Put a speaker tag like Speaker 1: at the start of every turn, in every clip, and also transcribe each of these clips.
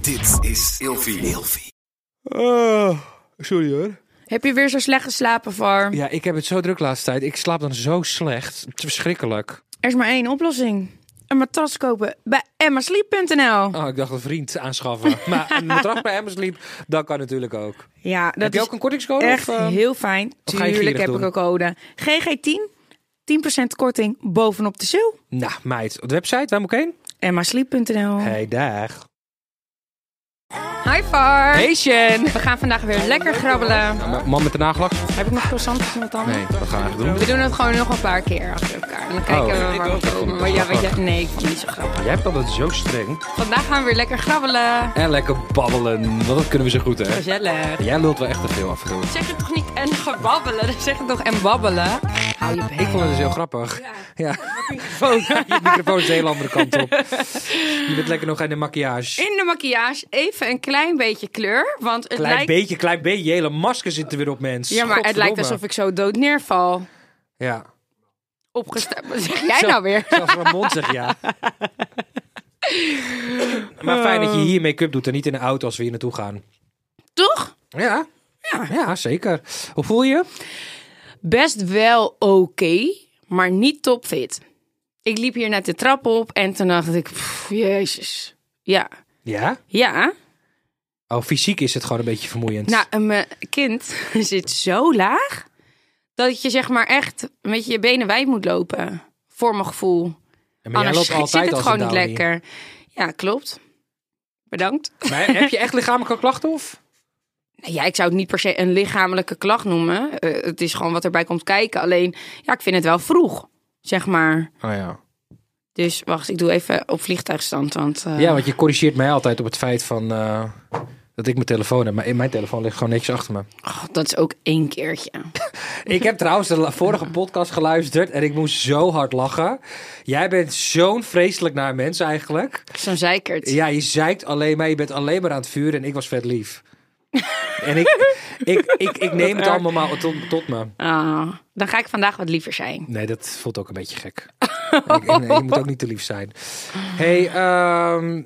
Speaker 1: Dit is Ilfie.
Speaker 2: Ah, sorry hoor.
Speaker 3: Heb je weer zo slecht geslapen, Farm?
Speaker 2: Ja, ik heb het zo druk de laatste tijd. Ik slaap dan zo slecht. Het is verschrikkelijk.
Speaker 3: Er is maar één oplossing. Een matras kopen bij emmasleep.nl.
Speaker 2: Oh, ik dacht een vriend aanschaffen. maar een matras bij Amazon liep, dat kan natuurlijk ook.
Speaker 3: Ja, dat
Speaker 2: heb je
Speaker 3: is
Speaker 2: ook een kortingscode?
Speaker 3: echt
Speaker 2: of, eh,
Speaker 3: heel fijn.
Speaker 2: ga je
Speaker 3: Tuurlijk
Speaker 2: gierig
Speaker 3: heb
Speaker 2: doen?
Speaker 3: ik een code. GG10, 10% korting bovenop de sale.
Speaker 2: Nou, meid. Op de website, waar moet ik heen?
Speaker 3: emmasleep.nl.
Speaker 2: Hey, dag.
Speaker 3: Hi, Farm.
Speaker 2: Hey, Sjen.
Speaker 3: We gaan vandaag weer lekker grabbelen.
Speaker 2: Man met de nagelak?
Speaker 3: Heb ik nog croissantjes met tanden?
Speaker 2: Oh. Nee, dat gaan we eigenlijk doen.
Speaker 3: We doen het gewoon nog een paar keer achter elkaar. En dan kijken
Speaker 2: Oh.
Speaker 3: we waar we komen. Maar ja, weet je, nee, ik vond het niet zo grappig.
Speaker 2: Jij hebt altijd zo streng.
Speaker 3: Vandaag gaan we weer lekker grabbelen.
Speaker 2: En lekker babbelen. Want dat kunnen we zo goed, hè?
Speaker 3: Gezellig.
Speaker 2: Jij lult wel echt te veel af en toe.
Speaker 3: Zeg het toch niet en gebabbelen? Zeg het toch en babbelen? Hou je
Speaker 2: Ik
Speaker 3: bek.
Speaker 2: vond het dus heel grappig. Ja. Je microfoon is de hele andere kant op. Je bent lekker nog in de maquillage.
Speaker 3: In de maquillage even een klein beetje kleur. Want het
Speaker 2: Klein
Speaker 3: lijkt...
Speaker 2: beetje, klein beetje. Je hele masker zit er weer op, mens.
Speaker 3: Ja, maar het lijkt
Speaker 2: Godverdomme.
Speaker 3: alsof ik zo dood neerval.
Speaker 2: Ja.
Speaker 3: Opgestemd. Wat zeg jij
Speaker 2: Zo-
Speaker 3: nou weer?
Speaker 2: Zelfs Ramon zegt ja. maar fijn
Speaker 3: Oh.
Speaker 2: dat je hier make-up doet en niet in de auto als we hier naartoe gaan.
Speaker 3: Toch?
Speaker 2: Ja. Ja, zeker. Hoe voel je?
Speaker 3: Best wel oké, maar niet topfit. Ik liep hier net de trap op en toen dacht ik, pff, jezus. Ja,
Speaker 2: Ja?
Speaker 3: ja.
Speaker 2: Oh, fysiek is het gewoon een beetje vermoeiend.
Speaker 3: Nou, en mijn kind zit zo laag dat je zeg maar echt met je benen wijd moet lopen. Voor mijn gevoel.
Speaker 2: maar jij loopt
Speaker 3: Anders
Speaker 2: altijd
Speaker 3: zit het
Speaker 2: als
Speaker 3: gewoon
Speaker 2: een
Speaker 3: niet
Speaker 2: downie.
Speaker 3: lekker. Ja, klopt. Bedankt.
Speaker 2: Maar heb je echt lichamelijke klachten of?
Speaker 3: Nou Ja, ik zou het niet per se een lichamelijke klacht noemen. Eh, het is gewoon wat erbij komt kijken. Alleen, ja, ik vind het wel vroeg, zeg maar.
Speaker 2: Oh ja.
Speaker 3: Dus wacht, ik doe even op vliegtuigstand. Want, eh,
Speaker 2: Ja, want je corrigeert mij altijd op het feit van eh, dat ik mijn telefoon heb. Maar in mijn telefoon ligt gewoon niks achter me.
Speaker 3: god, oh, dat is ook één keertje.
Speaker 2: Ik heb trouwens de la- vorige podcast geluisterd en ik moest zo hard lachen. Jij bent zo'n vreselijk naar mens eigenlijk.
Speaker 3: Zo'n zeikert.
Speaker 2: Ja, je zeikt alleen maar, je bent alleen maar aan het vuren en ik was vet lief. en ik, ik, ik, ik neem het allemaal maar tot, tot me.
Speaker 3: Ah, dan ga ik vandaag wat liever zijn.
Speaker 2: Nee, dat voelt ook een beetje gek. ik, ik- nee, je moet ook niet te lief zijn. hey, ehm,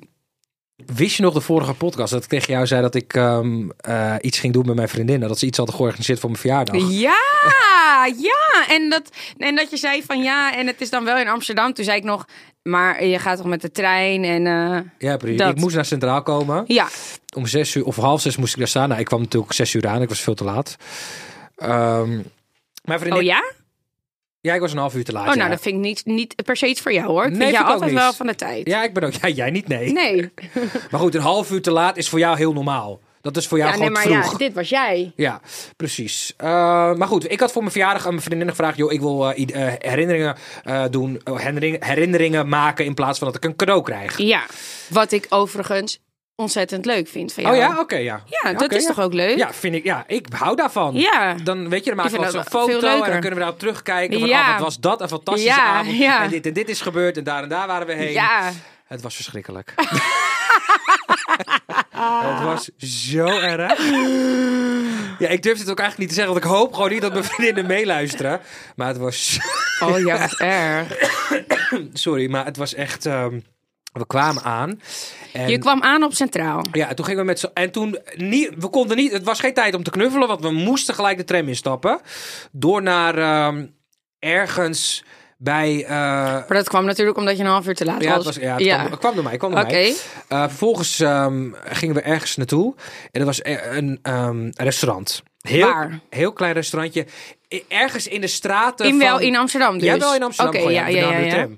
Speaker 2: wist je nog de vorige podcast dat ik tegen jou zei dat ik ehm, eh, iets ging doen met mijn vriendinnen? Dat ze iets hadden georganiseerd voor mijn verjaardag.
Speaker 3: Ja, ja. En dat, en dat je zei van ja, en het is dan wel in Amsterdam. Toen zei ik nog, maar je gaat toch met de trein en... eh,
Speaker 2: Ja, precies.
Speaker 3: Dat.
Speaker 2: Ik moest naar Centraal komen.
Speaker 3: ja,
Speaker 2: om zes uur of half zes moest ik daar staan. Nou, ik kwam natuurlijk zes uur aan. Ik was veel te laat. Ehm mijn vriendin,
Speaker 3: oh ja?
Speaker 2: ja, ik was een half uur te laat.
Speaker 3: Oh,
Speaker 2: ja.
Speaker 3: nou, dat vind ik niet, niet per se iets voor jou, hoor. Ik
Speaker 2: Nee,
Speaker 3: vind
Speaker 2: vind
Speaker 3: jou
Speaker 2: ik ook
Speaker 3: altijd
Speaker 2: niet.
Speaker 3: wel van de tijd.
Speaker 2: ja, ik ben ook. Ja, jij niet, nee.
Speaker 3: Nee,
Speaker 2: Maar goed, een half uur te laat is voor jou heel normaal. Dat is voor jou
Speaker 3: ja, nee,
Speaker 2: gewoon
Speaker 3: maar
Speaker 2: vroeg.
Speaker 3: ja, dit was jij.
Speaker 2: Ja, precies. Eh, maar goed, ik had voor mijn verjaardag aan mijn vriendin gevraagd: joh, ik wil eh, i- eh, herinneringen eh, doen, eh, herinnering- herinneringen maken in plaats van dat ik een cadeau krijg.
Speaker 3: Ja, wat ik overigens ontzettend leuk vind van jou.
Speaker 2: Oh ja, oké, ja.
Speaker 3: Ja, dat
Speaker 2: oké,
Speaker 3: is
Speaker 2: ja.
Speaker 3: toch ook leuk?
Speaker 2: Ja, vind ik. Ja, ik hou daarvan.
Speaker 3: Ja.
Speaker 2: Dan weet je, dan maken
Speaker 3: Ik
Speaker 2: we
Speaker 3: vind
Speaker 2: altijd
Speaker 3: dat
Speaker 2: zo'n
Speaker 3: veel
Speaker 2: foto en
Speaker 3: leuker.
Speaker 2: dan kunnen we daarop terugkijken. Van,
Speaker 3: Ja.
Speaker 2: oh, wat was dat een fantastische
Speaker 3: Ja,
Speaker 2: avond.
Speaker 3: ja.
Speaker 2: En dit en dit is gebeurd en daar en daar waren we heen.
Speaker 3: Ja.
Speaker 2: Het was verschrikkelijk. het was zo erg. Ja, ik durfde het ook eigenlijk niet te zeggen, want ik hoop gewoon niet dat mijn vriendinnen meeluisteren. Maar het was,
Speaker 3: Oh ja, wat erg.
Speaker 2: sorry, maar het was echt, ehm, we kwamen aan. En
Speaker 3: Je kwam aan op Centraal.
Speaker 2: Ja, en toen gingen we met z'n... En toen... Niet, we konden niet... Het was geen tijd om te knuffelen, want we moesten gelijk de tram instappen. Door naar ehm, ergens bij... eh,
Speaker 3: Maar dat kwam natuurlijk omdat je een half uur te laat
Speaker 2: ja, het
Speaker 3: was.
Speaker 2: was, ja, het Kwam, het kwam door mij. het kwam door
Speaker 3: Oké.
Speaker 2: mij. Eh, vervolgens ehm, gingen we ergens naartoe. En dat was er- een ehm, restaurant. Heel,
Speaker 3: Waar?
Speaker 2: heel klein restaurantje. I- Ergens in de straten
Speaker 3: In wel
Speaker 2: van-
Speaker 3: in Amsterdam dus?
Speaker 2: ja, wel in Amsterdam.
Speaker 3: Oké,
Speaker 2: gewoon,
Speaker 3: ja,
Speaker 2: We
Speaker 3: ja, ja,
Speaker 2: namen de
Speaker 3: ja. Nou,
Speaker 2: tram.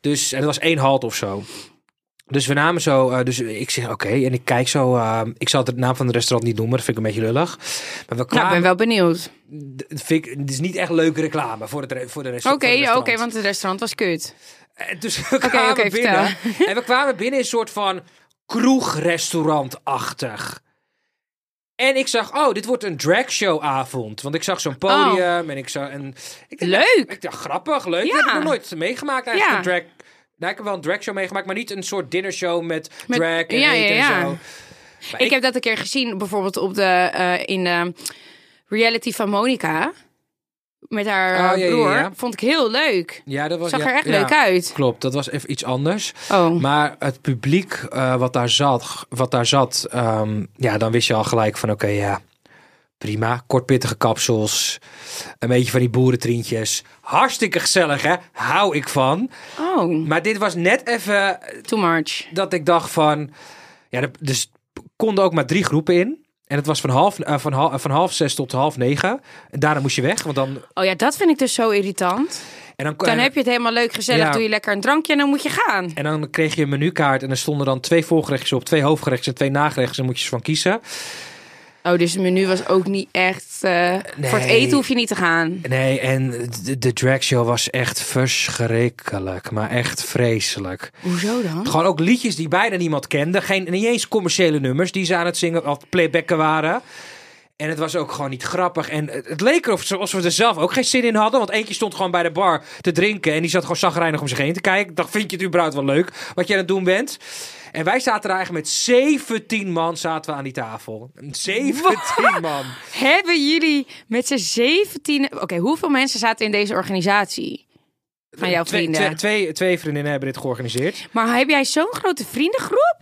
Speaker 2: Dus en dat was één halt of zo. Dus we namen zo, eh, dus ik zeg oké, en ik kijk zo, eh, ik zal de naam van het restaurant niet noemen, dat vind ik een beetje lullig. Maar we
Speaker 3: Nou, ik
Speaker 2: kwamen,
Speaker 3: ben wel benieuwd.
Speaker 2: d- vind ik, het is niet echt leuke reclame voor het, re- voor de rest-
Speaker 3: Oké,
Speaker 2: voor het
Speaker 3: ja,
Speaker 2: restaurant.
Speaker 3: oké, want het restaurant was kut.
Speaker 2: En Dus we kwamen
Speaker 3: oké,
Speaker 2: binnen en we kwamen binnen in een soort van kroegrestaurantachtig. En ik zag, oh, dit wordt een dragshowavond. Want ik zag zo'n
Speaker 3: Oh.
Speaker 2: podium en ik zag... En ik dacht,
Speaker 3: Leuk.
Speaker 2: Ik dacht, grappig, leuk.
Speaker 3: Ja.
Speaker 2: Dat heb ik nog nooit meegemaakt eigenlijk,
Speaker 3: Ja.
Speaker 2: een drag... Nou, ik heb wel een dragshow meegemaakt, maar niet een soort dinnershow met,
Speaker 3: Met-
Speaker 2: drag en
Speaker 3: ja,
Speaker 2: eten
Speaker 3: ja, ja.
Speaker 2: en zo. Maar
Speaker 3: Ik, heb dat een keer gezien, bijvoorbeeld op de, eh, in de reality van ehm, Monica. met haar eh,
Speaker 2: Oh, ja, ja,
Speaker 3: broer.
Speaker 2: ja.
Speaker 3: Vond ik heel leuk.
Speaker 2: Ja, dat was,
Speaker 3: Zag
Speaker 2: ja,
Speaker 3: er echt
Speaker 2: ja,
Speaker 3: leuk uit.
Speaker 2: Klopt, dat was even iets anders.
Speaker 3: Oh,
Speaker 2: Maar het publiek eh, wat daar zat, wat daar zat ehm, ja, dan wist je al gelijk van oké, ja, prima. Kortpittige kapsels, een beetje van die boerentrientjes. Hartstikke gezellig, hè? Hou ik van.
Speaker 3: oh,
Speaker 2: Maar dit was net even
Speaker 3: too much.
Speaker 2: dat ik dacht van... Ja, er- dus konden ook maar drie groepen in. En het was van half, eh, van, hal- van half zes tot half negen. En daarna moest je weg, want dan...
Speaker 3: Oh ja, dat vind ik dus zo irritant.
Speaker 2: En dan,
Speaker 3: Dan heb je het helemaal leuk, gezellig,
Speaker 2: Ja.
Speaker 3: doe je lekker een drankje en dan moet je gaan.
Speaker 2: En dan kreeg je een menukaart en er stonden dan twee voorgerechtjes op, twee hoofdgerechtjes en twee nagerechtjes. En moet je ze van kiezen.
Speaker 3: Oh, dus het menu was ook niet echt... eh, Voor het
Speaker 2: Nee.
Speaker 3: eten hoef je niet te gaan.
Speaker 2: Nee, en de, de dragshow was echt verschrikkelijk, maar echt vreselijk.
Speaker 3: Hoezo dan?
Speaker 2: Gewoon ook liedjes die bijna niemand kende. Geen, niet eens commerciële nummers die ze aan het zingen of playbacken waren. En het was ook gewoon niet grappig. En het het leek erop alsof we er zelf ook geen zin in hadden. Want eentje stond gewoon bij de bar te drinken. En die zat gewoon zagrijnig om zich heen te kijken. Ik dacht, vind je het überhaupt wel leuk wat jij aan het doen bent? En wij zaten daar eigenlijk met 17 man zaten we aan die tafel. 17 man.
Speaker 3: Hebben jullie met z'n zeventien... Oké, hoeveel mensen zaten in deze organisatie? Van jouw
Speaker 2: Eh, Twee-
Speaker 3: vrienden.
Speaker 2: Twee, twee, twee vriendinnen hebben dit georganiseerd.
Speaker 3: Maar heb jij zo'n grote vriendengroep?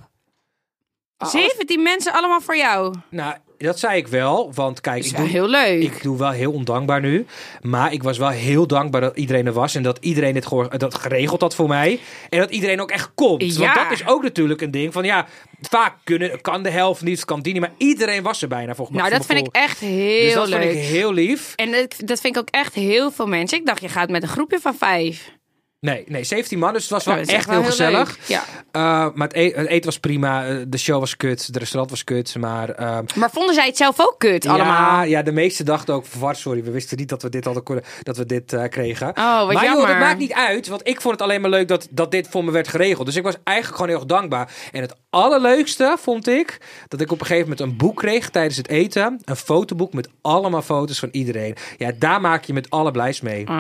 Speaker 2: Ah,
Speaker 3: 17 mensen allemaal voor jou.
Speaker 2: Nou, dat zei ik wel. Want kijk,
Speaker 3: Dat is
Speaker 2: ik
Speaker 3: wel
Speaker 2: doe,
Speaker 3: heel leuk.
Speaker 2: ik doe wel heel ondankbaar nu. Maar ik was wel heel dankbaar dat iedereen er was. En dat iedereen dit geor- dat geregeld had voor mij. En dat iedereen ook echt komt.
Speaker 3: Ja.
Speaker 2: Want dat is ook natuurlijk een ding van ja. Vaak kunnen, kan de helft niet, kan die niet. Maar iedereen was er bijna volgens mij.
Speaker 3: nou, dat vind ik echt heel
Speaker 2: Dus dat
Speaker 3: leuk.
Speaker 2: vind ik heel lief.
Speaker 3: En dat, dat vind ik ook echt heel veel mensen. Ik dacht, je gaat met een groepje van vijf.
Speaker 2: Nee, nee 17 man. Dus het was wel
Speaker 3: Nou, dat is
Speaker 2: echt heel, gezellig.
Speaker 3: leuk. Ja.
Speaker 2: Eh, maar het, e- het eten was prima. eh, De show was kut. De restaurant was kut. Maar ehm,
Speaker 3: Maar vonden zij het zelf ook kut allemaal?
Speaker 2: Ja, ja, de meesten dachten ook, verward, sorry, we wisten niet dat we dit hadden kunnen, dat we dit eh, kregen.
Speaker 3: Oh, wat
Speaker 2: maar
Speaker 3: jammer.
Speaker 2: dat maakt niet uit, want ik vond het alleen maar leuk dat, dat dit voor me werd geregeld. Dus ik was eigenlijk gewoon heel erg dankbaar. En het allerleukste vond ik, dat ik op een gegeven moment een boek kreeg tijdens het eten. Een fotoboek met allemaal foto's van iedereen. Ja, daar maak je met alle blijs mee.
Speaker 3: Ah.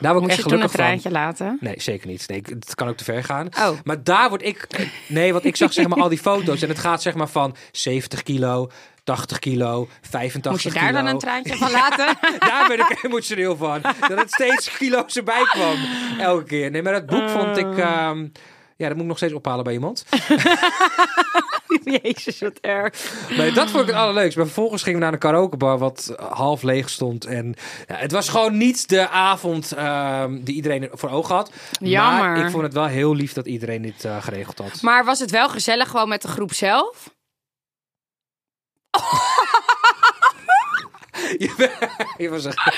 Speaker 2: Daar word ik
Speaker 3: Moet
Speaker 2: echt
Speaker 3: je toen een
Speaker 2: gelukkig van.
Speaker 3: traantje laten?
Speaker 2: Nee, zeker niet. Nee, ik- het kan ook te ver gaan.
Speaker 3: Oh.
Speaker 2: Maar daar word ik... Nee, want ik zag zeg maar al die foto's. En het gaat zeg maar van 70 kilo, 80 kilo, 85
Speaker 3: Moet je
Speaker 2: kilo
Speaker 3: daar dan een traantje van laten?
Speaker 2: daar ben ik emotioneel van. Dat het steeds kilo's erbij kwam. Elke keer. Nee, maar dat boek vond ik... ehm, ja, dat moet ik nog steeds ophalen bij iemand.
Speaker 3: Jezus, wat erg.
Speaker 2: Maar dat vond ik het allerleukst. Maar vervolgens gingen we naar een karaokebar wat half leeg stond. En ja, het was gewoon niet de avond ehm, die iedereen voor ogen had.
Speaker 3: Jammer.
Speaker 2: Maar ik vond het wel heel lief dat iedereen dit eh, geregeld had.
Speaker 3: Maar was het wel gezellig gewoon met de groep zelf?
Speaker 2: Jawel, je was echt-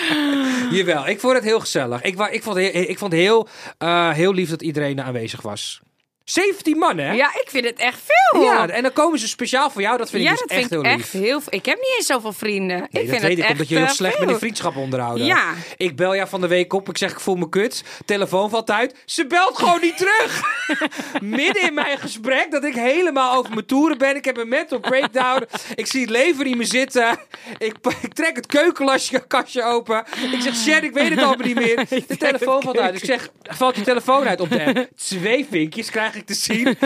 Speaker 2: Jawel, ik vond het heel gezellig. Ik, wa- ik vond, he- ik vond heel, eh, heel lief dat iedereen aanwezig was. 17 man, hè?
Speaker 3: Ja, ik vind het echt veel.
Speaker 2: Ja, en dan komen ze speciaal voor jou. Dat vind
Speaker 3: ja,
Speaker 2: ik dus
Speaker 3: dat
Speaker 2: echt
Speaker 3: vind ik
Speaker 2: heel
Speaker 3: echt
Speaker 2: lief.
Speaker 3: heel veel. Ik heb niet eens zoveel vrienden.
Speaker 2: Nee,
Speaker 3: ik
Speaker 2: dat
Speaker 3: vind
Speaker 2: weet
Speaker 3: het
Speaker 2: ik,
Speaker 3: echt
Speaker 2: omdat je heel
Speaker 3: eh,
Speaker 2: slecht
Speaker 3: veel.
Speaker 2: met die vriendschap onderhouden.
Speaker 3: Ja.
Speaker 2: Ik bel jou van de week op, ik zeg ik voel me kut. Telefoon valt uit, ze belt gewoon niet terug. Midden in mijn gesprek, dat ik helemaal over mijn toeren ben. Ik heb een mental breakdown. Ik zie het leven niet meer zitten. Ik, pa- ik trek het keukenkastje kastje open. Ik zeg, shit, ik weet het allemaal niet meer. De telefoon valt uit. Dus ik zeg, valt je telefoon uit op de app? Twee vinkjes krijg ik te zien.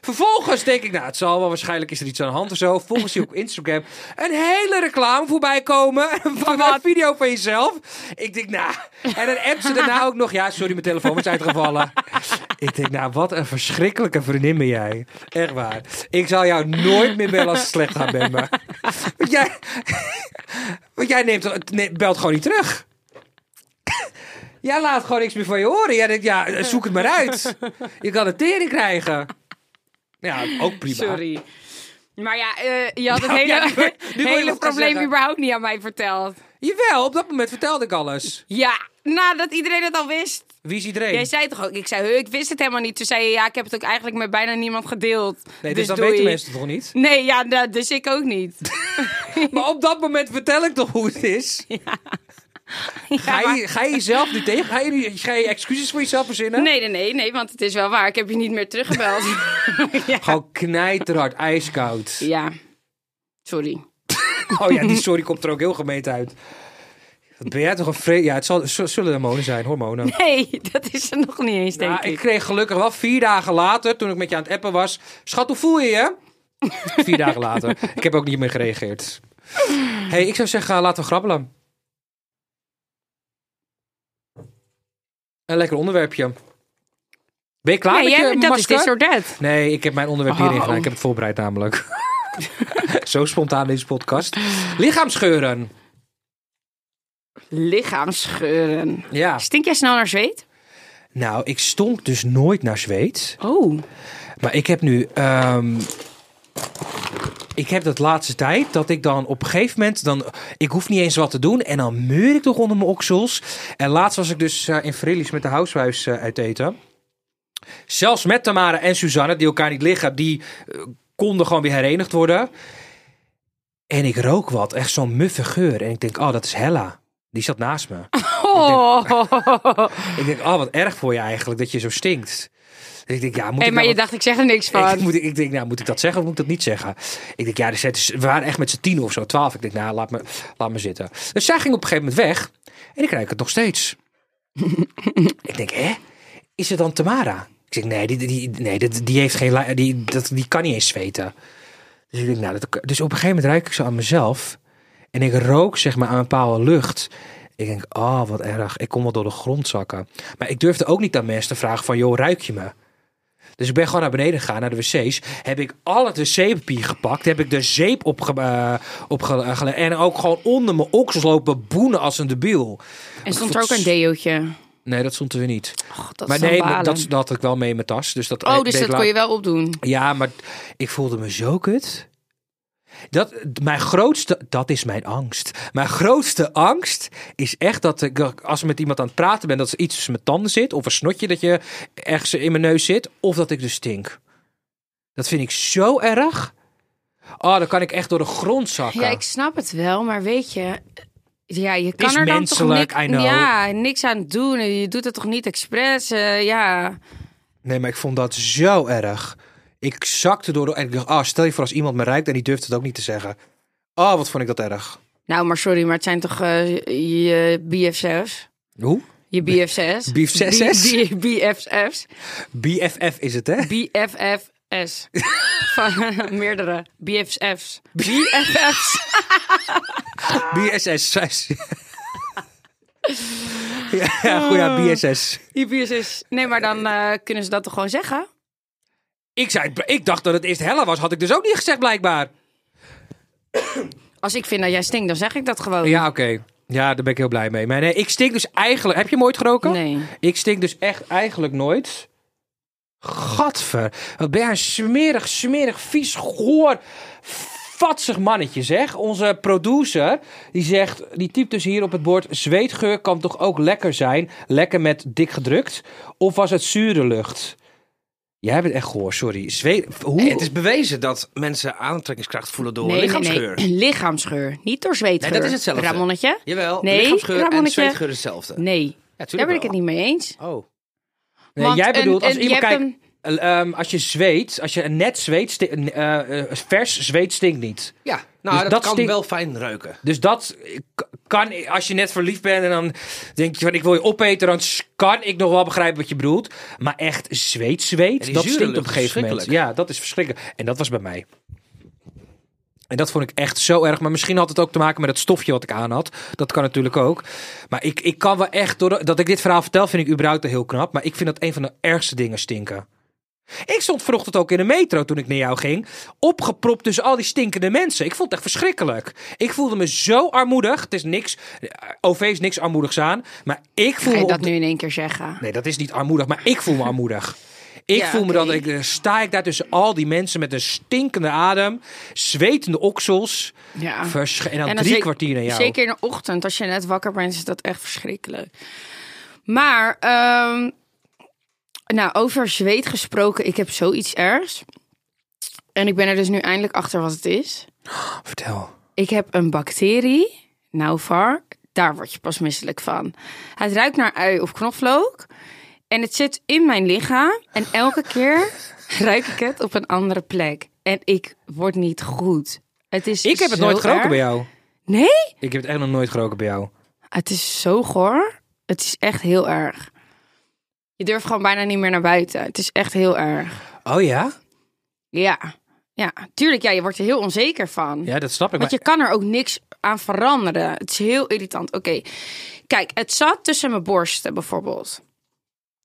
Speaker 2: Vervolgens denk ik, nou, het zal wel. Waarschijnlijk is er iets aan de hand of zo. Volgens zie ik op Instagram een hele reclame voorbij komen. Van een video van jezelf. Ik denk, nou. En dan app ze daarna ook nog. Ja, sorry, mijn telefoon is uitgevallen. ik denk, nou, wat een verschrikkelijke vriendin ben jij. Echt waar. Ik zal jou nooit meer bellen als het slecht gaat met me. Want jij, want jij neemt, nee, belt gewoon niet terug. Jij laat gewoon niks meer van je horen. Jij denkt, ja, zoek het maar uit. Je kan een tering krijgen. Ja, ook prima.
Speaker 3: Sorry. Maar ja, eh, je had het
Speaker 2: Nou,
Speaker 3: hele,
Speaker 2: ja, nu wil- nu wil je
Speaker 3: hele
Speaker 2: wat gaan
Speaker 3: probleem
Speaker 2: zeggen.
Speaker 3: überhaupt niet aan mij verteld.
Speaker 2: Jawel, op dat moment vertelde ik alles.
Speaker 3: Ja, nadat iedereen het al wist.
Speaker 2: Wie is iedereen?
Speaker 3: Jij zei toch ook, ik zei, "Huh, ik wist het helemaal niet. Toen zei je, ja, ik heb het ook eigenlijk met bijna niemand gedeeld.
Speaker 2: nee, dus,
Speaker 3: dus
Speaker 2: dat
Speaker 3: doei.
Speaker 2: weten mensen toch niet?
Speaker 3: Nee, ja, da- dus ik ook niet.
Speaker 2: Maar op dat moment vertel ik toch hoe het is? ga,
Speaker 3: Ja, maar-
Speaker 2: je, ga je jezelf nu tegen? Ga je, nu- ga je excuses voor jezelf verzinnen?
Speaker 3: Nee, nee, nee, nee, want het is wel waar. Ik heb je niet meer teruggebeld.
Speaker 2: Gewoon knijterhard, ijskoud.
Speaker 3: ja, sorry.
Speaker 2: Oh ja, die sorry komt er ook heel gemeend uit. Wat ben jij toch een vre... Ja, het zal, z- zullen hormonen zijn, hormonen.
Speaker 3: Nee, dat is er nog niet eens, denk
Speaker 2: Nou, ik
Speaker 3: ik.
Speaker 2: kreeg gelukkig wel vier dagen later, toen ik met je aan het appen was... Schat, hoe voel je je? vier dagen later. Ik heb ook niet meer gereageerd. hey, ik zou zeggen, laten we grabbelen. Een lekker onderwerpje. Ben je klaar
Speaker 3: Ja,
Speaker 2: met
Speaker 3: jij,
Speaker 2: je
Speaker 3: dat is
Speaker 2: masker?
Speaker 3: this or that.
Speaker 2: Nee, ik heb mijn onderwerp hierin
Speaker 3: Oh.
Speaker 2: gedaan. Ik heb het voorbereid namelijk. Zo spontaan deze podcast. Lichaamscheuren.
Speaker 3: Lichaamsgeuren.
Speaker 2: Ja.
Speaker 3: Stink jij snel naar zweet?
Speaker 2: Nou, ik stonk dus nooit naar zweet.
Speaker 3: Oh.
Speaker 2: Maar ik heb nu... ehm, ik heb dat laatste tijd dat ik dan op een gegeven moment... Dan, ik hoef niet eens wat te doen en dan meur ik toch onder mijn oksels. En laatst was ik dus eh, in Frillies met de housewives eh, uit eten. Zelfs met Tamara en Suzanne, die elkaar niet liggen... die eh, konden gewoon weer herenigd worden. En ik rook wat, echt zo'n muffe geur. En ik denk, oh, dat is Hella. Die zat naast me.
Speaker 3: oh.
Speaker 2: Ik denk, oh, wat erg voor je eigenlijk dat je zo stinkt. Dus ik denk, ja, moet
Speaker 3: Hey,
Speaker 2: ik
Speaker 3: maar
Speaker 2: nou
Speaker 3: je
Speaker 2: wat-
Speaker 3: dacht, ik zeg er niks
Speaker 2: ik,
Speaker 3: van.
Speaker 2: moet, ik denk, nou, moet ik dat zeggen of moet ik dat niet zeggen? Ik denk, ja, er zitten- we waren echt met z'n tien of zo, twaalf. Ik denk, nou, laat me, laat me zitten. Dus zij ging op een gegeven moment weg en ik ruik het nog steeds. ik denk, hè? Is het dan Tamara? Ik zeg, nee, die, die, nee dat, die, heeft geen, la- die, dat, die kan niet eens zweten. Dus, ik denk, nou, dat, dus op een gegeven moment ruik ik ze aan mezelf en ik rook zeg maar aan een bepaalde lucht. Ik denk, oh, wat erg. Ik kon wel door de grond zakken. Maar ik durfde ook niet aan mensen te vragen van, joh, ruik je me? Dus ik ben gewoon naar beneden gegaan, naar de wc's. Heb ik al het wc-papier gepakt. Heb ik de zeep opge... eh, opge- eh, gele- en ook gewoon onder mijn oksels lopen boenen als een debiel.
Speaker 3: En stond er ook een deootje.
Speaker 2: Nee, dat stond er weer niet.
Speaker 3: Och, Oh, dat is
Speaker 2: maar
Speaker 3: dan
Speaker 2: nee,
Speaker 3: balen.
Speaker 2: dat, dat had ik wel mee in mijn tas. Dus dat
Speaker 3: Oh,
Speaker 2: eh,
Speaker 3: dus
Speaker 2: deed
Speaker 3: dat
Speaker 2: ik
Speaker 3: kon je
Speaker 2: laat-
Speaker 3: wel opdoen.
Speaker 2: Ja, maar ik voelde me zo kut. Dat, mijn grootste, dat is mijn angst. Mijn grootste angst is echt dat ik, dat ik als ik met iemand aan het praten ben, dat er iets tussen mijn tanden zit. Of een snotje dat je ergens in mijn neus zit. Of dat ik dus stink. Dat vind ik zo erg. Oh, dan kan ik echt door de grond zakken.
Speaker 3: Ja, ik snap het wel, maar weet je... Ja, je kan
Speaker 2: is
Speaker 3: er dan
Speaker 2: menselijk,
Speaker 3: toch
Speaker 2: I
Speaker 3: niks,
Speaker 2: know.
Speaker 3: ja, niks aan doen. Je doet het toch niet expres? eh, ja.
Speaker 2: Nee, maar ik vond dat zo erg. Ik zakte door de... En ik dacht, ah, stel je voor als iemand me rijdt en die durft het ook niet te zeggen. Oh, wat vond ik dat erg.
Speaker 3: Nou, maar sorry, maar het zijn toch eh, je BFF's?
Speaker 2: Hoe?
Speaker 3: Je BFF's?
Speaker 2: BFF's?
Speaker 3: B- B- BFF's?
Speaker 2: BFF is het, hè?
Speaker 3: BFF's. Van eh, meerdere. BFF's. BFF's.
Speaker 2: BSS. ja, goed, ja, BSS.
Speaker 3: Die BFF's. Nee, maar dan eh, kunnen ze dat toch gewoon zeggen?
Speaker 2: Ik, zei, ik dacht dat het eerst Hella was, had ik dus ook niet gezegd, blijkbaar.
Speaker 3: Als ik vind dat jij stinkt, dan zeg ik dat gewoon.
Speaker 2: Ja, oké. Ja, daar ben ik heel blij mee. Maar nee, ik stink dus eigenlijk... Heb je hem ooit geroken?
Speaker 3: Nee.
Speaker 2: Ik stink dus echt eigenlijk nooit. Gadver. Wat ben jij een smerig, smerig, vies, goor, vatsig mannetje zeg. Onze producer, die zegt, die typt dus hier op het bord... zweetgeur kan toch ook lekker zijn? Lekker met dik gedrukt? Of was het zure lucht? Jij bent echt goor, sorry. Zweet, hoe?
Speaker 1: het is bewezen dat mensen aantrekkingskracht voelen door
Speaker 3: Nee,
Speaker 1: lichaamsgeur.
Speaker 3: nee, nee. Lichaamsgeur. Niet door zweetgeur.
Speaker 1: Nee, dat is hetzelfde.
Speaker 3: Ramonnetje?
Speaker 1: Jawel,
Speaker 3: Nee,
Speaker 1: lichaamsgeur en
Speaker 3: Ramonnetje.
Speaker 1: zweetgeur is hetzelfde.
Speaker 3: Nee.
Speaker 1: Ja,
Speaker 3: eh, Daar
Speaker 1: tuurlijk
Speaker 3: ben ik het
Speaker 1: wel.
Speaker 3: niet mee eens.
Speaker 1: Oh.
Speaker 2: Nee,
Speaker 3: Want
Speaker 2: jij
Speaker 3: een-
Speaker 2: bedoelt, als
Speaker 3: een-
Speaker 2: iemand
Speaker 3: je hebt
Speaker 2: kijkt... ehm, als je zweet, als je net zweet, sti- eh, eh, vers zweet stinkt niet.
Speaker 1: Ja, nou,
Speaker 2: Dus
Speaker 1: dat,
Speaker 2: dat
Speaker 1: kan
Speaker 2: stinkt-
Speaker 1: wel fijn ruiken.
Speaker 2: Dus dat k- kan, als je net verliefd bent en dan denk je van ik wil je opeten, dan s- kan ik nog wel begrijpen wat je bedoelt. Maar echt zweet,
Speaker 1: Ja,
Speaker 2: zweet,
Speaker 1: die
Speaker 2: dat
Speaker 1: zure
Speaker 2: stinkt op
Speaker 1: lucht
Speaker 2: een
Speaker 1: is
Speaker 2: gegeven moment.
Speaker 1: verschrikkelijk.
Speaker 2: Ja, dat is verschrikkelijk. En dat was bij mij. En dat vond ik echt zo erg. Maar misschien had het ook te maken met het stofje wat ik aan had. Dat kan natuurlijk ook. Maar ik, ik kan wel echt, door dat ik dit verhaal vertel, vind ik überhaupt heel knap. Maar ik vind dat een van de ergste dingen stinken. Ik stond vanochtend ook in de metro toen ik naar jou ging. Opgepropt tussen al die stinkende mensen. Ik vond het echt verschrikkelijk. Ik voelde me zo armoedig. Het is niks. OV is niks armoedigs aan. Maar ik voel me.
Speaker 3: Ga je
Speaker 2: op
Speaker 3: dat
Speaker 2: de-
Speaker 3: nu in één keer zeggen?
Speaker 2: Nee, dat is niet armoedig. Maar ik voel me armoedig. Ik
Speaker 3: Ja,
Speaker 2: voel me
Speaker 3: oké.
Speaker 2: dat ik. eh, Sta ik daar tussen al die mensen met een stinkende adem. Zwetende oksels.
Speaker 3: Ja.
Speaker 2: Versch- en dan
Speaker 3: En dan
Speaker 2: drie
Speaker 3: zek-
Speaker 2: kwartier naar jou.
Speaker 3: Zeker in de ochtend, als je net wakker bent, is dat echt verschrikkelijk. Maar, ehm, nou, over zweet gesproken, ik heb zoiets ergs. En ik ben er dus nu eindelijk achter wat het is.
Speaker 2: Vertel.
Speaker 3: Ik heb een bacterie, Nauvar, daar word je pas misselijk van. Het ruikt naar ui of knoflook. En het zit in mijn lichaam. En elke keer ruik ik het op een andere plek. En ik word niet goed. Het is
Speaker 2: Ik heb het nooit geroken bij jou.
Speaker 3: Nee?
Speaker 2: Ik heb het echt nog nooit geroken bij jou.
Speaker 3: Het is zo goor. Het is echt heel erg. Je durft gewoon bijna niet meer naar buiten. Het is echt heel erg.
Speaker 2: Oh ja?
Speaker 3: Ja. Ja, tuurlijk. Ja, je wordt er heel onzeker van.
Speaker 2: Ja, dat snap ik.
Speaker 3: Want je
Speaker 2: Maar,
Speaker 3: kan er ook niks aan veranderen. Het is heel irritant. Oké. Kijk, het zat tussen mijn borsten bijvoorbeeld.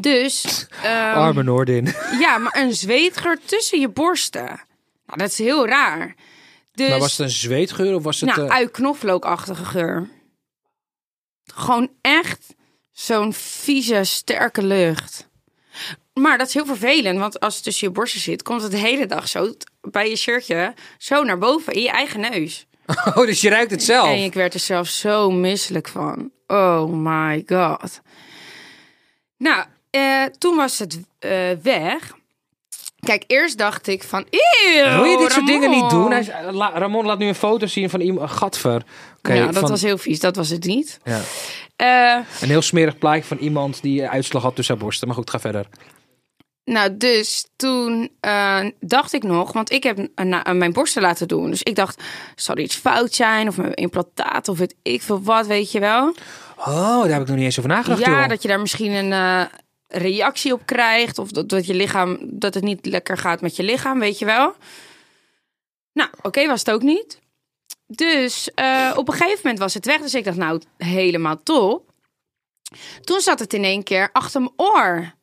Speaker 3: Dus, ehm,
Speaker 2: Arme Noordin.
Speaker 3: ja, maar een zweetgeur tussen je borsten. Nou, dat is heel raar. Dus,
Speaker 2: Maar was het een zweetgeur of was het...
Speaker 3: nou,
Speaker 2: eh,
Speaker 3: ui knoflookachtige geur. Gewoon echt zo'n vieze, sterke lucht. Maar dat is heel vervelend, want als het tussen je borsten zit, komt het de hele dag zo t- bij je shirtje zo naar boven in je eigen neus.
Speaker 2: Oh, dus je ruikt het zelf.
Speaker 3: En ik werd er zelf zo misselijk van. Oh my god. Nou, eh, toen was het eh, weg. Kijk, eerst dacht ik van...
Speaker 2: Wil je dit soort dingen niet doen? Hij
Speaker 3: Ja,
Speaker 2: is- eh, La- Ramon laat nu een foto zien van iemand, een gatver. Oké,
Speaker 3: Nou, dat
Speaker 2: van-
Speaker 3: was heel vies. Dat was het niet.
Speaker 2: ja.
Speaker 3: Eh,
Speaker 2: Een heel smerig plaatje van iemand die eh, uitslag had tussen haar borsten. Maar goed, ga verder.
Speaker 3: nou, dus toen eh, dacht ik nog... Want ik heb een- na- mijn borsten laten doen. Dus ik dacht, zal er iets fout zijn? Of mijn implantaat? Of weet ik veel wat, weet je wel?
Speaker 2: Oh, daar heb ik nog niet eens over nagedacht,
Speaker 3: ja,
Speaker 2: joh.
Speaker 3: dat je daar misschien een eh, reactie op krijgt. Of dat, dat je lichaam dat het niet lekker gaat met je lichaam, weet je wel. Nou, oké, was het ook niet. Dus eh, op een gegeven moment was het weg. Dus ik dacht, nou, helemaal top. Toen zat het in één keer achter mijn oor.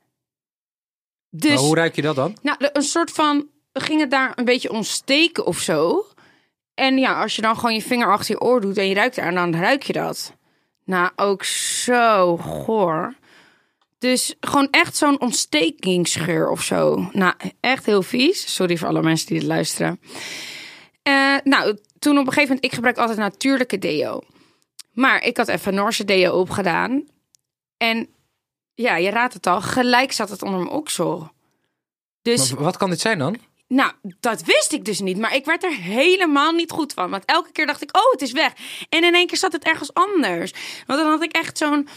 Speaker 3: Dus
Speaker 2: Maar hoe ruik je dat dan?
Speaker 3: nou, de- een soort van. ging het daar een beetje ontsteken of zo. En ja, als je dan gewoon je vinger achter je oor doet en je ruikt eraan, dan ruik je dat. Nou, ook zo goor. Dus gewoon echt zo'n ontstekingsgeur of zo. Nou, echt heel vies. Sorry voor alle mensen die dit luisteren. Eh, nou, toen op een gegeven moment, ik gebruik altijd natuurlijke deo. Maar ik had even Noorse deo opgedaan. En ja, je raadt het al, gelijk zat het onder mijn oksel. Dus
Speaker 2: Maar wat kan dit zijn dan?
Speaker 3: nou, dat wist ik dus niet. Maar ik werd er helemaal niet goed van. Want elke keer dacht ik, oh, het is weg. En in één keer zat het ergens anders. Want dan had ik echt zo'n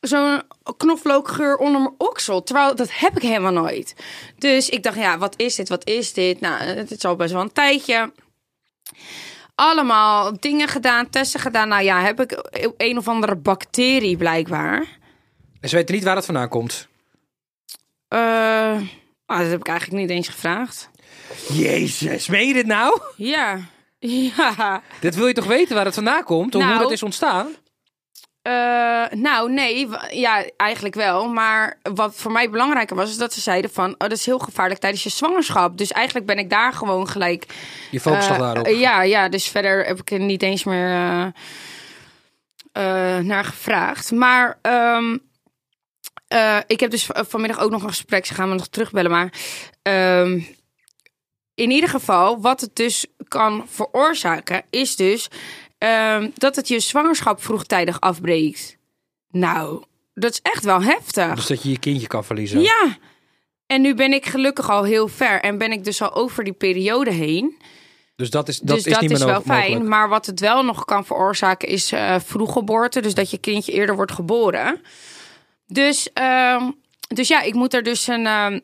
Speaker 3: zo'n knoflookgeur onder mijn oksel. Terwijl dat heb ik helemaal nooit. Dus ik dacht, ja, wat is dit? Wat is dit? Nou, het is al best wel een tijdje. Allemaal dingen gedaan, testen gedaan. Nou ja, heb ik een of andere bacterie blijkbaar.
Speaker 2: En ze weten niet waar het vandaan komt.
Speaker 3: Eh, ah, dat heb ik eigenlijk niet eens gevraagd.
Speaker 2: Jezus, meen je dit nou?
Speaker 3: Ja, ja.
Speaker 2: Dit wil je toch weten waar het vandaan komt? Of hoe
Speaker 3: Nou.
Speaker 2: dat is ontstaan?
Speaker 3: Eh, nou, nee. w- Ja, eigenlijk wel. Maar wat voor mij belangrijker was, is dat ze zeiden van... Oh, dat is heel gevaarlijk tijdens je zwangerschap. Dus eigenlijk ben ik daar gewoon gelijk...
Speaker 2: Je focust toch
Speaker 3: eh,
Speaker 2: daarop.
Speaker 3: eh, ja, ja, dus verder heb ik er niet eens meer eh, eh, naar gevraagd. Maar ehm, eh, ik heb dus v- vanmiddag ook nog een gesprek. Ze gaan me nog terugbellen, maar... ehm, in ieder geval, wat het dus kan veroorzaken, is dus ehm, dat het je zwangerschap vroegtijdig afbreekt. Nou, dat is echt wel heftig.
Speaker 2: Dus dat je je kindje kan verliezen.
Speaker 3: Ja. En nu ben ik gelukkig al heel ver en ben ik dus al over die periode heen.
Speaker 2: Dus dat is, dat
Speaker 3: dus
Speaker 2: is
Speaker 3: dat
Speaker 2: niet
Speaker 3: is
Speaker 2: meer
Speaker 3: wel
Speaker 2: nodig-
Speaker 3: fijn.
Speaker 2: mogelijk.
Speaker 3: Maar wat het wel nog kan veroorzaken is eh vroeggeboorte. Dus dat je kindje eerder wordt geboren. Dus, ehm, dus ja, ik moet er dus een, ehm,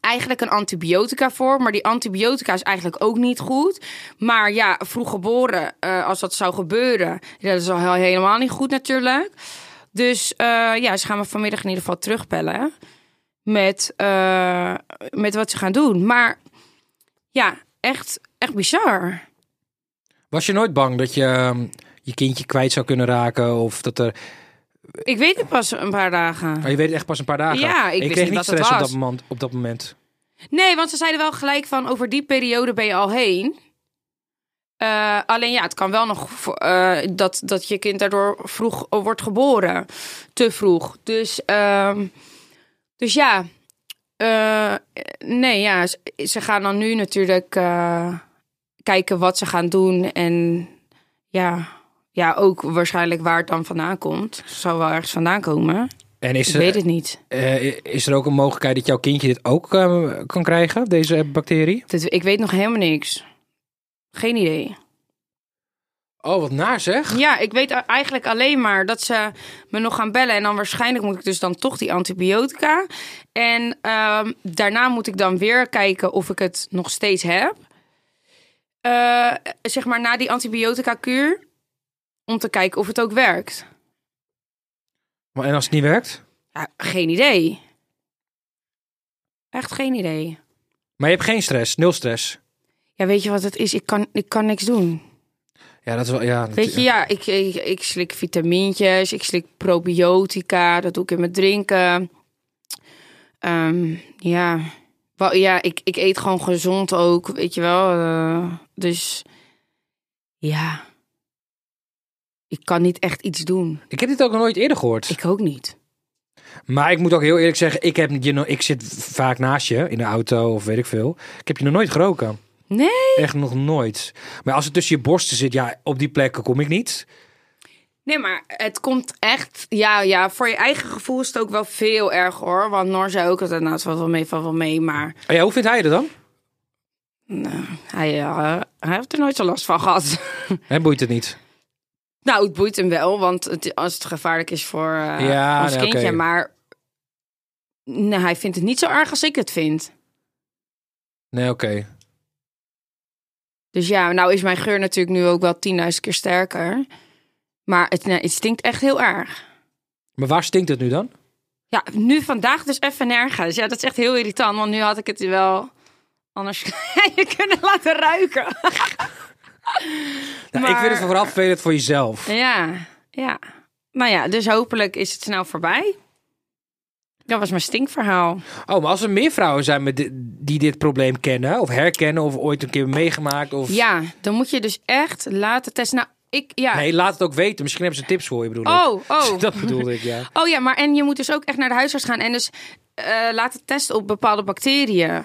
Speaker 3: eigenlijk een antibiotica voor. Maar die antibiotica is eigenlijk ook niet goed. Maar ja, vroeggeboren, eh, als dat zou gebeuren, ja, dat is al he- helemaal niet goed natuurlijk. Dus eh, ja, ze gaan me vanmiddag in ieder geval terugbellen. Met, eh, met wat ze gaan doen. Maar ja, echt, echt bizar.
Speaker 2: Was je nooit bang dat je ehm, je kindje kwijt zou kunnen raken? Of dat er...
Speaker 3: Ik weet het pas een paar dagen.
Speaker 2: Maar je weet het echt pas een paar dagen.
Speaker 3: Ja, ik
Speaker 2: En je
Speaker 3: wist
Speaker 2: kreeg
Speaker 3: niet
Speaker 2: niet
Speaker 3: wat het
Speaker 2: stress op dat,
Speaker 3: was.
Speaker 2: moment, op dat moment.
Speaker 3: Nee, want ze zeiden wel gelijk van over die periode ben je al heen. Eh, alleen ja, het kan wel nog vo- eh, dat, dat je kind daardoor vroeg eh, wordt geboren. Te vroeg. Dus, ehm, dus ja. Eh, nee, ja. Ze, ze gaan dan nu natuurlijk eh, kijken wat ze gaan doen. En ja, ja, ook waarschijnlijk waar het dan vandaan komt. Het zal wel ergens vandaan komen.
Speaker 2: En is
Speaker 3: Ik
Speaker 2: er,
Speaker 3: weet het niet.
Speaker 2: eh, is er ook een mogelijkheid dat jouw kindje dit ook eh, kan krijgen? Deze bacterie?
Speaker 3: Dit- ik weet nog helemaal niks. Geen idee.
Speaker 2: Oh, wat naar zeg.
Speaker 3: Ja, ik weet a- eigenlijk alleen maar dat ze me nog gaan bellen. En dan waarschijnlijk moet ik dus dan toch die antibiotica. En ehm, daarna moet ik dan weer kijken of ik het nog steeds heb. Eh, zeg maar na die antibiotica kuur. Om te kijken of het ook werkt.
Speaker 2: Maar en als het niet werkt?
Speaker 3: Ja, geen idee. Echt geen idee.
Speaker 2: Maar je hebt geen stress, nul stress.
Speaker 3: Ja, weet je wat het is? Ik kan, ik kan niks doen.
Speaker 2: Ja, dat is wel... Ja, dat-
Speaker 3: Weet je, ja, ik, ik, ik slik vitamintjes, ik slik probiotica, dat doe ik in mijn drinken. Ehm, ja, Wel, ja ik, ik eet gewoon gezond ook, weet je wel. eh, dus ja, ik kan niet echt iets doen.
Speaker 2: Ik heb dit ook nog nooit eerder gehoord.
Speaker 3: Ik ook niet.
Speaker 2: Maar ik moet ook heel eerlijk zeggen, ik, heb, je nog- ik zit vaak naast je in de auto of weet ik veel. Ik heb je nog nooit geroken.
Speaker 3: Nee?
Speaker 2: Echt nog nooit. Maar als het tussen je borsten zit, ja, op die plekken kom ik niet.
Speaker 3: Nee, maar het komt echt... Ja, ja, voor je eigen gevoel is het ook wel veel erg hoor. Want Noor zei ook altijd, nou, het valt wel mee, valt wel mee. Maar
Speaker 2: Oh ja, hoe vindt hij er dan?
Speaker 3: nou, hij, eh, hij heeft er nooit zo last van gehad.
Speaker 2: Hij boeit het niet.
Speaker 3: Nou, het boeit hem wel, want het, als het gevaarlijk is voor eh,
Speaker 2: Ja,
Speaker 3: ons
Speaker 2: nee,
Speaker 3: kindje.
Speaker 2: oké.
Speaker 3: Maar nee, hij vindt het niet zo erg als ik het vind.
Speaker 2: Nee, oké.
Speaker 3: Dus ja, nou is mijn geur natuurlijk nu ook wel 10.000 keer sterker. Maar het, nee, het stinkt echt heel erg.
Speaker 2: Maar waar stinkt het nu dan?
Speaker 3: Ja, nu vandaag dus even nergens. Ja, dat is echt heel irritant, want nu had ik het wel anders kunnen laten ruiken.
Speaker 2: Nou, Ik vind het
Speaker 3: Maar-
Speaker 2: vooral vervelend voor jezelf.
Speaker 3: Ja, ja. Nou ja, dus hopelijk is het snel voorbij. Dat was mijn stinkverhaal.
Speaker 2: Oh, maar als er meer vrouwen zijn met di- die dit probleem kennen of herkennen of ooit een keer meegemaakt of...
Speaker 3: Ja, dan moet je dus echt laten testen. Nou, ik, ja.
Speaker 2: Nee, laat het ook weten. Misschien hebben ze tips voor je, bedoel ik.
Speaker 3: Oh, oh.
Speaker 2: Dat bedoelde ik, ja.
Speaker 3: Oh ja, maar en je moet dus ook echt naar de huisarts gaan en dus eh, laten testen op bepaalde bacteriën.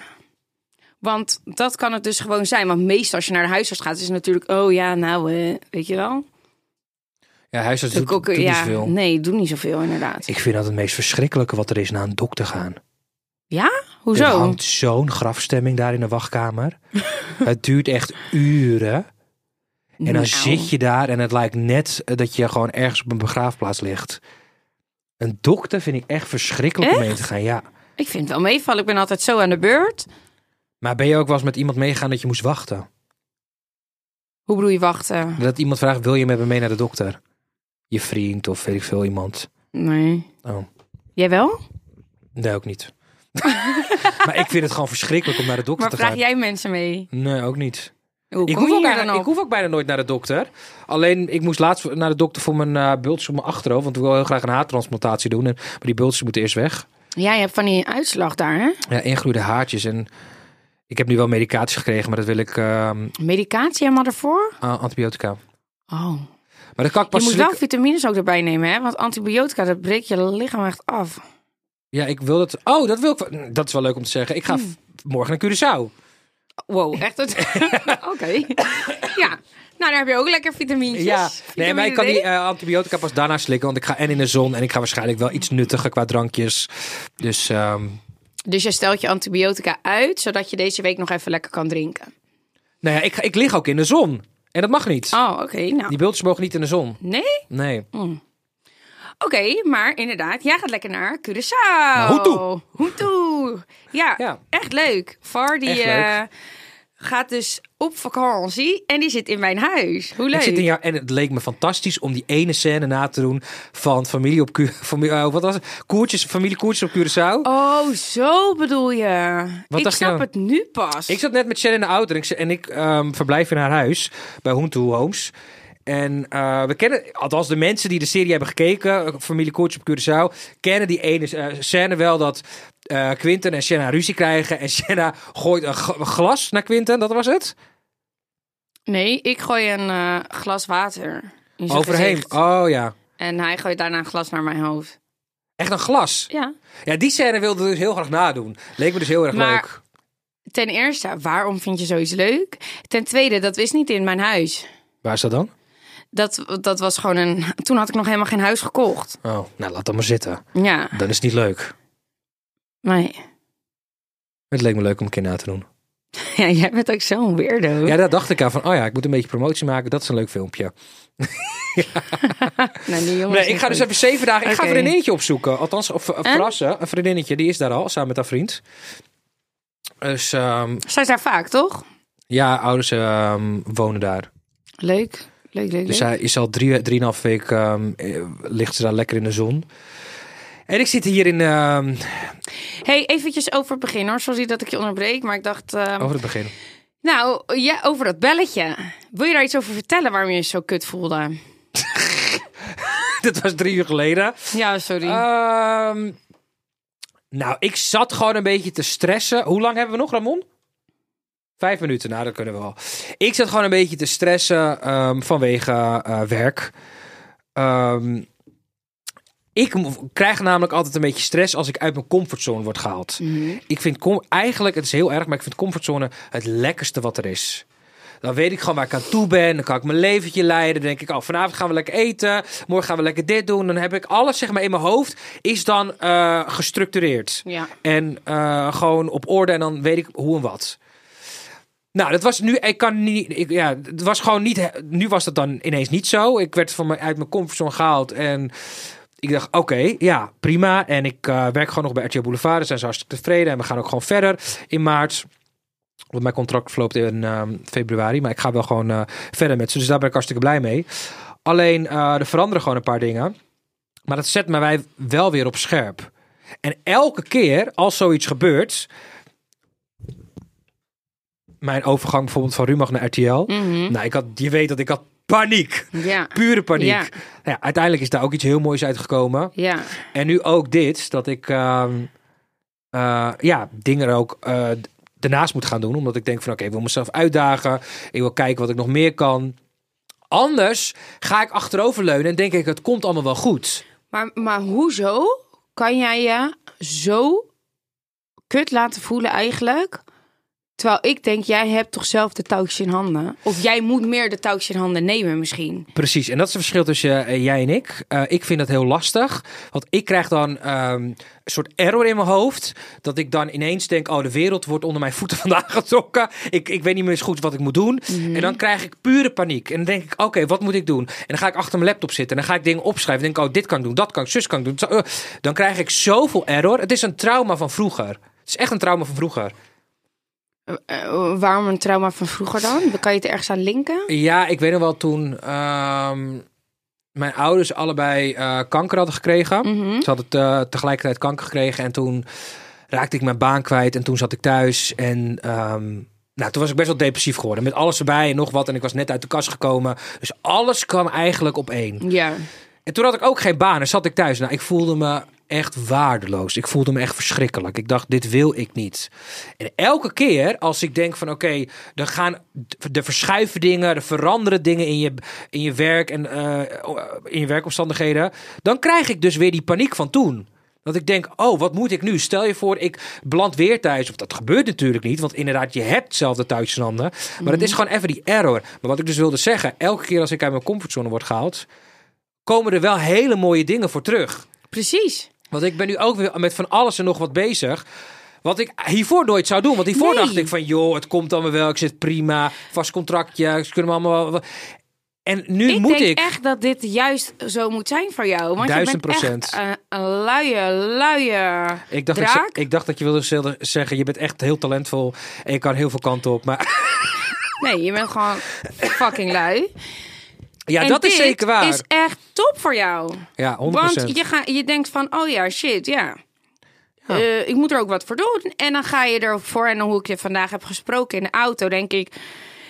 Speaker 3: Want dat kan het dus gewoon zijn. Want meestal als je naar de huisarts gaat, is het natuurlijk, oh ja, nou, eh, weet je wel.
Speaker 2: Ja, huisarts doet,
Speaker 3: Ook, eh,
Speaker 2: doet niet
Speaker 3: ja,
Speaker 2: veel.
Speaker 3: nee, doe niet zoveel inderdaad.
Speaker 2: Ik vind dat het meest verschrikkelijke wat er is naar een dokter gaan.
Speaker 3: Ja?
Speaker 2: Er
Speaker 3: Hoezo?
Speaker 2: hangt zo'n grafstemming daar in de wachtkamer. het duurt echt uren. En dan
Speaker 3: Nou.
Speaker 2: zit je daar en het lijkt net eh, dat je gewoon ergens op een begraafplaats ligt. Een dokter vind ik echt verschrikkelijk om mee te gaan, ja.
Speaker 3: Ik vind het wel meevallen. Ik ben altijd zo aan de beurt.
Speaker 2: Maar ben je ook wel eens met iemand meegaan dat je moest wachten?
Speaker 3: Hoe bedoel je wachten?
Speaker 2: Dat iemand vraagt, wil je met me mee naar de dokter? Je vriend of weet ik veel, iemand.
Speaker 3: Nee.
Speaker 2: Oh,
Speaker 3: Jij wel?
Speaker 2: nee, ook niet. maar ik vind het gewoon verschrikkelijk om naar de dokter
Speaker 3: Maar
Speaker 2: te
Speaker 3: vraag
Speaker 2: gaan.
Speaker 3: jij mensen mee?
Speaker 2: Nee, ook niet.
Speaker 3: Hoe
Speaker 2: Ik
Speaker 3: kom
Speaker 2: hoef, ook
Speaker 3: je daar
Speaker 2: bijna,
Speaker 3: dan op?
Speaker 2: ik hoef ook bijna nooit naar de dokter. Alleen, ik moest laatst naar de dokter voor mijn eh bultjes op mijn achterhoofd. Want ik wil heel graag een haartransplantatie doen. En, maar die bultjes moeten eerst weg.
Speaker 3: Ja, je hebt van die uitslag daar, hè?
Speaker 2: Ja, ingroeide haartjes. En ik heb nu wel medicatie gekregen, maar dat wil ik... ehm,
Speaker 3: Medicatie helemaal ervoor?
Speaker 2: a- antibiotica.
Speaker 3: Oh.
Speaker 2: Maar dat kan ik
Speaker 3: Je
Speaker 2: pas...
Speaker 3: moet
Speaker 2: slikken-
Speaker 3: wel vitamines ook erbij nemen, hè? Want antibiotica, dat breekt je lichaam echt af.
Speaker 2: Ja, ik wil dat... Oh, dat wil ik... Dat is wel leuk om te zeggen. Ik ga
Speaker 3: Hm.
Speaker 2: v- morgen naar Curaçao.
Speaker 3: Wow, echt? het- Oké. Ja. Nou, daar heb je ook lekker vitamines.
Speaker 2: Ja. Nee, maar ik kan die eh, antibiotica pas daarna slikken. Want ik ga en in de zon en ik ga waarschijnlijk wel iets nuttiger qua drankjes. Dus... ehm,
Speaker 3: Dus je stelt je antibiotica uit, zodat je deze week nog even lekker kan drinken.
Speaker 2: nou ja, ik, ga- ik lig ook in de zon. En dat mag niet.
Speaker 3: Oh, oké. nou.
Speaker 2: Die bultjes mogen niet in de zon.
Speaker 3: Nee?
Speaker 2: Nee.
Speaker 3: Oké, maar inderdaad, jij gaat lekker naar Curaçao.
Speaker 2: Hoe toe?
Speaker 3: Hoe toe? Ja,
Speaker 2: Ja.
Speaker 3: echt leuk. Far die
Speaker 2: Echt leuk.
Speaker 3: eh, gaat dus op vakantie en die zit in mijn huis. Hoe leuk.
Speaker 2: Ik zit in jou en het leek me fantastisch om die ene scène na te doen van familie op Cu- familie, eh, wat was het? Koertjes, familie Koertjes op Curaçao.
Speaker 3: Oh, zo bedoel je.
Speaker 2: Wat
Speaker 3: ik
Speaker 2: dacht je
Speaker 3: snap
Speaker 2: dan?
Speaker 3: het nu pas.
Speaker 2: Ik zat net met Shen in de auto en ik, ze- en ik ehm, verblijf in haar huis bij Huntu Homes. En eh, we kennen, althans de mensen die de serie hebben gekeken, eh, familie Koertjes op Curaçao, kennen die ene eh, scène wel dat eh, Quinten en Shenna ruzie krijgen. En Shenna gooit een g- glas naar Quinten, dat was het?
Speaker 3: Nee, ik gooi een eh, glas water in zijn
Speaker 2: Overheen.
Speaker 3: gezicht.
Speaker 2: Oh ja.
Speaker 3: En hij gooit daarna een glas naar mijn hoofd.
Speaker 2: Echt een glas.
Speaker 3: Ja.
Speaker 2: Ja, die scène wilde ik dus heel graag nadoen. Leek me dus heel erg
Speaker 3: Maar-
Speaker 2: leuk.
Speaker 3: Ten eerste, waarom vind je zoiets leuk? Ten tweede, dat is niet in mijn huis.
Speaker 2: Waar is dat dan?
Speaker 3: Dat, dat was gewoon een... Toen had ik nog helemaal geen huis gekocht.
Speaker 2: Oh, nou laat dat maar zitten.
Speaker 3: Ja,
Speaker 2: Dan is het niet leuk.
Speaker 3: nee.
Speaker 2: Het leek me leuk om een keer na te doen.
Speaker 3: Ja, jij bent ook zo'n weirdo.
Speaker 2: Ja, daar dacht ik aan van, oh ja, ik moet een beetje promotie maken. Dat is een leuk filmpje.
Speaker 3: Nee, Nou, die
Speaker 2: Nee,
Speaker 3: jongen Oh, is
Speaker 2: ik ga
Speaker 3: niet
Speaker 2: dus even zeven dagen, ik ga
Speaker 3: Oké.
Speaker 2: een vriendinnetje opzoeken. Althans, of eh,
Speaker 3: En?
Speaker 2: verrassen. Een vriendinnetje, die is daar al, samen met haar vriend. Dus ehm,
Speaker 3: goed. Zij is daar vaak, toch?
Speaker 2: ja, ouders ehm, wonen daar.
Speaker 3: Leuk, leuk, leuk,
Speaker 2: Dus
Speaker 3: leuk.
Speaker 2: zij is al drie, drieënhalf week, ehm, eh, ligt ze daar lekker in de zon. En ik zit hier in, ehm,
Speaker 3: hey, eventjes over het begin hoor. Sorry dat ik je onderbreek, maar ik dacht... ehm,
Speaker 2: over oh, het begin.
Speaker 3: Nou, ja, over dat belletje. Wil je daar iets over vertellen waarom je je zo kut voelde?
Speaker 2: Dit was drie uur geleden.
Speaker 3: Ja, sorry.
Speaker 2: Ehm, Nou, ik zat gewoon een beetje te stressen. Hoe lang hebben we nog, Ramon? Vijf minuten, nou dat kunnen we wel. Ik zat gewoon een beetje te stressen ehm, vanwege eh, werk. Ehm, ik mo- krijg namelijk altijd een beetje stress als ik uit mijn comfortzone word gehaald. Ik vind com- eigenlijk, het is heel erg, maar ik vind comfortzone het lekkerste wat er is. Dan weet ik gewoon waar ik aan toe ben. Dan kan ik mijn leventje leiden. Dan denk ik, oh, vanavond gaan we lekker eten. Morgen gaan we lekker dit doen. Dan heb ik alles zeg maar, in mijn hoofd. Is dan eh, gestructureerd.
Speaker 3: Ja.
Speaker 2: En eh, gewoon op orde en dan weet ik hoe en wat. Nou, dat was nu. Ik kan niet. Ik, ja, het was gewoon niet. Nu was dat dan ineens niet zo. Ik werd van mijn, uit mijn comfortzone gehaald. En ik dacht, oké, ja, prima. En ik eh, werk gewoon nog bij RTL Boulevard. Daar zijn ze hartstikke tevreden. En we gaan ook gewoon verder in maart. Want mijn contract verloopt in ehm, februari. Maar ik ga wel gewoon eh, verder met ze. Dus daar ben ik hartstikke blij mee. Alleen, eh, er veranderen gewoon een paar dingen. Maar dat zet mij wij wel weer op scherp. En elke keer als zoiets gebeurt. Mijn overgang bijvoorbeeld van Rumach naar RTL.
Speaker 3: Mhm.
Speaker 2: Nou, ik had, je weet dat ik had paniek.
Speaker 3: Ja.
Speaker 2: Pure paniek.
Speaker 3: Ja.
Speaker 2: Nou ja, uiteindelijk is daar ook iets heel moois uitgekomen.
Speaker 3: Ja.
Speaker 2: En nu ook dit, dat ik ehm, eh, ja, dingen er ook eh, d- daarnaast moet gaan doen. Omdat ik denk van oké, ik wil mezelf uitdagen. Ik wil kijken wat ik nog meer kan. Anders ga ik achteroverleunen en denk ik, het komt allemaal wel goed.
Speaker 3: Maar, maar hoezo kan jij je zo kut laten voelen eigenlijk? Terwijl ik denk, jij hebt toch zelf de touwtjes in handen? Of jij moet meer de touwtjes in handen nemen misschien.
Speaker 2: Precies, en dat is het verschil tussen eh, jij en ik. Eh, ik vind dat heel lastig, want ik krijg dan ehm, een soort error in mijn hoofd. Dat ik dan ineens denk, oh de wereld wordt onder mijn voeten vandaag getrokken. Ik, ik weet niet meer eens goed wat ik moet doen. En dan krijg ik pure paniek. En dan denk ik, oké, wat moet ik doen? En dan ga ik achter mijn laptop zitten en dan ga ik dingen opschrijven. En denk ik, oh dit kan ik doen, dat kan ik, zus kan ik doen. Zo- eh, Dan krijg ik zoveel error. Het is een trauma van vroeger. Het is echt een trauma van vroeger.
Speaker 3: Eh, waarom een trauma van vroeger dan? Kan je het ergens aan linken?
Speaker 2: Ja, ik weet nog wel toen ehm, mijn ouders allebei eh, kanker hadden gekregen. Ze hadden eh, tegelijkertijd kanker gekregen en toen raakte ik mijn baan kwijt en toen zat ik thuis en ehm, nou, toen was ik best wel depressief geworden met alles erbij en nog wat en ik was net uit de kast gekomen. Dus alles kwam eigenlijk op één.
Speaker 3: Ja.
Speaker 2: En toen had ik ook geen baan en zat ik thuis. Nou, ik voelde me echt waardeloos. Ik voelde me echt verschrikkelijk. Ik dacht, dit wil ik niet. En elke keer als ik denk van oké, er gaan er verschuiven dingen, er veranderen dingen in je, in je werk en eh, in je werkomstandigheden, dan krijg ik dus weer die paniek van toen. Dat ik denk, oh, wat moet ik nu? Stel je voor, ik beland weer thuis. Of dat gebeurt natuurlijk niet, want inderdaad, je hebt zelf de touwtjes in handen. Maar het is gewoon even die error. Maar wat ik dus wilde zeggen, elke keer als ik uit mijn comfortzone word gehaald, komen er wel hele mooie dingen voor terug.
Speaker 3: Precies.
Speaker 2: Want ik ben nu ook weer met van alles en nog wat bezig. Wat ik hiervoor nooit zou doen. Want hiervoor
Speaker 3: Nee.
Speaker 2: dacht ik van, joh, het komt allemaal wel. Ik zit prima. Vast contractje. Ze kunnen me allemaal wel... En nu
Speaker 3: ik
Speaker 2: moet
Speaker 3: denk
Speaker 2: ik.
Speaker 3: echt dat dit juist zo moet zijn voor jou. Want
Speaker 2: Duizend
Speaker 3: je bent
Speaker 2: procent.
Speaker 3: echt een, een luie, luie
Speaker 2: Ik dacht, dat
Speaker 3: draak.
Speaker 2: je- ik dacht dat je wilde ze- zeggen, je bent echt heel talentvol. En je kan heel veel kanten op. Maar
Speaker 3: Nee, je bent gewoon fucking lui.
Speaker 2: ja,
Speaker 3: En
Speaker 2: dat is
Speaker 3: dit
Speaker 2: zeker waar.
Speaker 3: is echt top voor jou.
Speaker 2: Ja, 100%.
Speaker 3: Want je, ga, je denkt van, oh ja, shit, ja. Eh, ik moet er ook wat voor doen. En dan ga je ervoor. En hoe ik je vandaag heb gesproken in de auto, denk ik...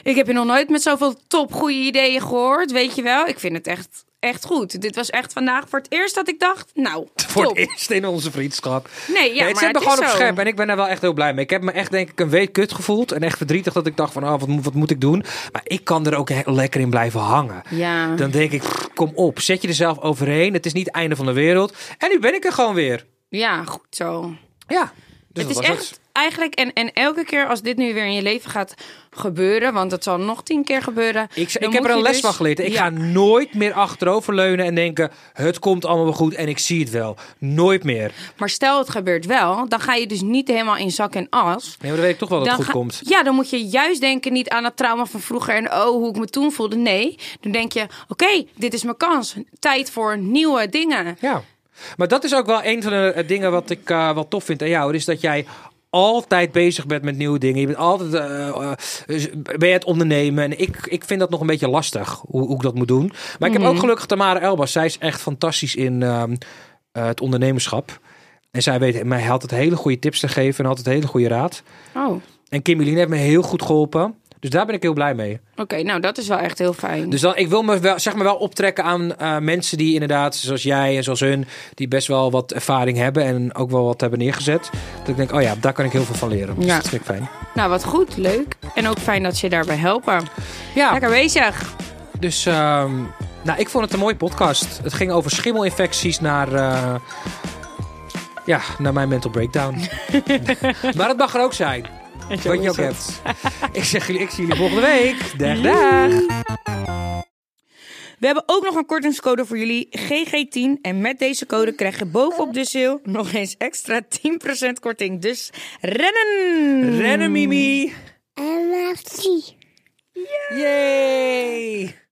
Speaker 3: Ik heb je nog nooit met zoveel top goede ideeën gehoord. Weet je wel, ik vind het echt, echt goed. Dit was echt vandaag voor het eerst dat ik dacht, nou,
Speaker 2: Voor
Speaker 3: top.
Speaker 2: het eerst in onze vriendschap.
Speaker 3: Nee, ja,
Speaker 2: het
Speaker 3: maar
Speaker 2: zit me
Speaker 3: het is
Speaker 2: gewoon op
Speaker 3: zo.
Speaker 2: scherp en ik ben daar wel echt heel blij mee. Ik heb me echt denk ik een week kut gevoeld en echt verdrietig dat ik dacht van ah, wat, moet- wat moet ik doen? Maar ik kan er ook he- lekker in blijven hangen.
Speaker 3: Ja.
Speaker 2: Dan denk ik, pff, kom op, zet je er zelf overheen. Het is niet het einde van de wereld. En nu ben ik er gewoon weer.
Speaker 3: Ja, goed zo.
Speaker 2: Ja, dus
Speaker 3: het
Speaker 2: dat
Speaker 3: is
Speaker 2: was
Speaker 3: echt eigenlijk, en, en elke keer als dit nu weer in je leven gaat gebeuren, want het zal nog tien keer gebeuren.
Speaker 2: Ik,
Speaker 3: dan
Speaker 2: ik heb er
Speaker 3: moet
Speaker 2: een
Speaker 3: je
Speaker 2: les
Speaker 3: dus-
Speaker 2: van geleerd. Ik
Speaker 3: Ja.
Speaker 2: ga nooit meer achteroverleunen en denken... het komt allemaal wel goed en ik zie het wel. Nooit meer.
Speaker 3: Maar stel het gebeurt wel, dan ga je dus niet helemaal in zak en as.
Speaker 2: Nee, maar dan weet ik toch wel dat
Speaker 3: dan
Speaker 2: het goed
Speaker 3: ga-
Speaker 2: komt.
Speaker 3: Ja, dan moet je juist denken niet aan het trauma van vroeger en oh, hoe ik me toen voelde. Nee, dan denk je, oké, dit is mijn kans. Tijd voor nieuwe dingen.
Speaker 2: Ja, maar dat is ook wel een van de eh, dingen wat ik eh, wel tof vind aan jou. Is dat jij altijd bezig bent met nieuwe dingen. Je bent altijd eh, eh, dus ben je het ondernemen. En ik, ik vind dat nog een beetje lastig hoe, hoe ik dat moet doen. Maar ik heb ook gelukkig Tamara Elbas. Zij is echt fantastisch in ehm, eh, het ondernemerschap. En zij weet mij altijd hele goede tips te geven en altijd hele goede raad.
Speaker 3: Oh,
Speaker 2: En Kim Eline heeft me heel goed geholpen. Dus daar ben ik heel blij mee.
Speaker 3: Oké, nou dat is wel echt heel fijn.
Speaker 2: Dus dan, ik wil me wel, zeg maar wel optrekken aan eh, mensen die inderdaad, zoals jij en zoals hun, die best wel wat ervaring hebben en ook wel wat hebben neergezet. Dat ik denk, oh ja, daar kan ik heel veel van leren. Dus
Speaker 3: Ja.
Speaker 2: dat vind ik fijn.
Speaker 3: Nou, wat goed, leuk. En ook fijn dat ze je daarbij helpen.
Speaker 2: Ja,
Speaker 3: Lekker bezig.
Speaker 2: dus ehm, nou, ik vond het een mooie podcast. Het ging over schimmelinfecties naar, eh, ja, naar mijn mental breakdown. maar het mag er ook zijn, wat je ook hebt. ik zeg jullie, ik zie jullie volgende week. Dag, dag.
Speaker 3: We hebben ook nog een kortingscode voor jullie, GG10. En met deze code krijg je bovenop de sale nog eens extra 10% korting. Dus rennen!
Speaker 2: Mm. Rennen, Mimi.
Speaker 4: I love tea.
Speaker 2: Yay.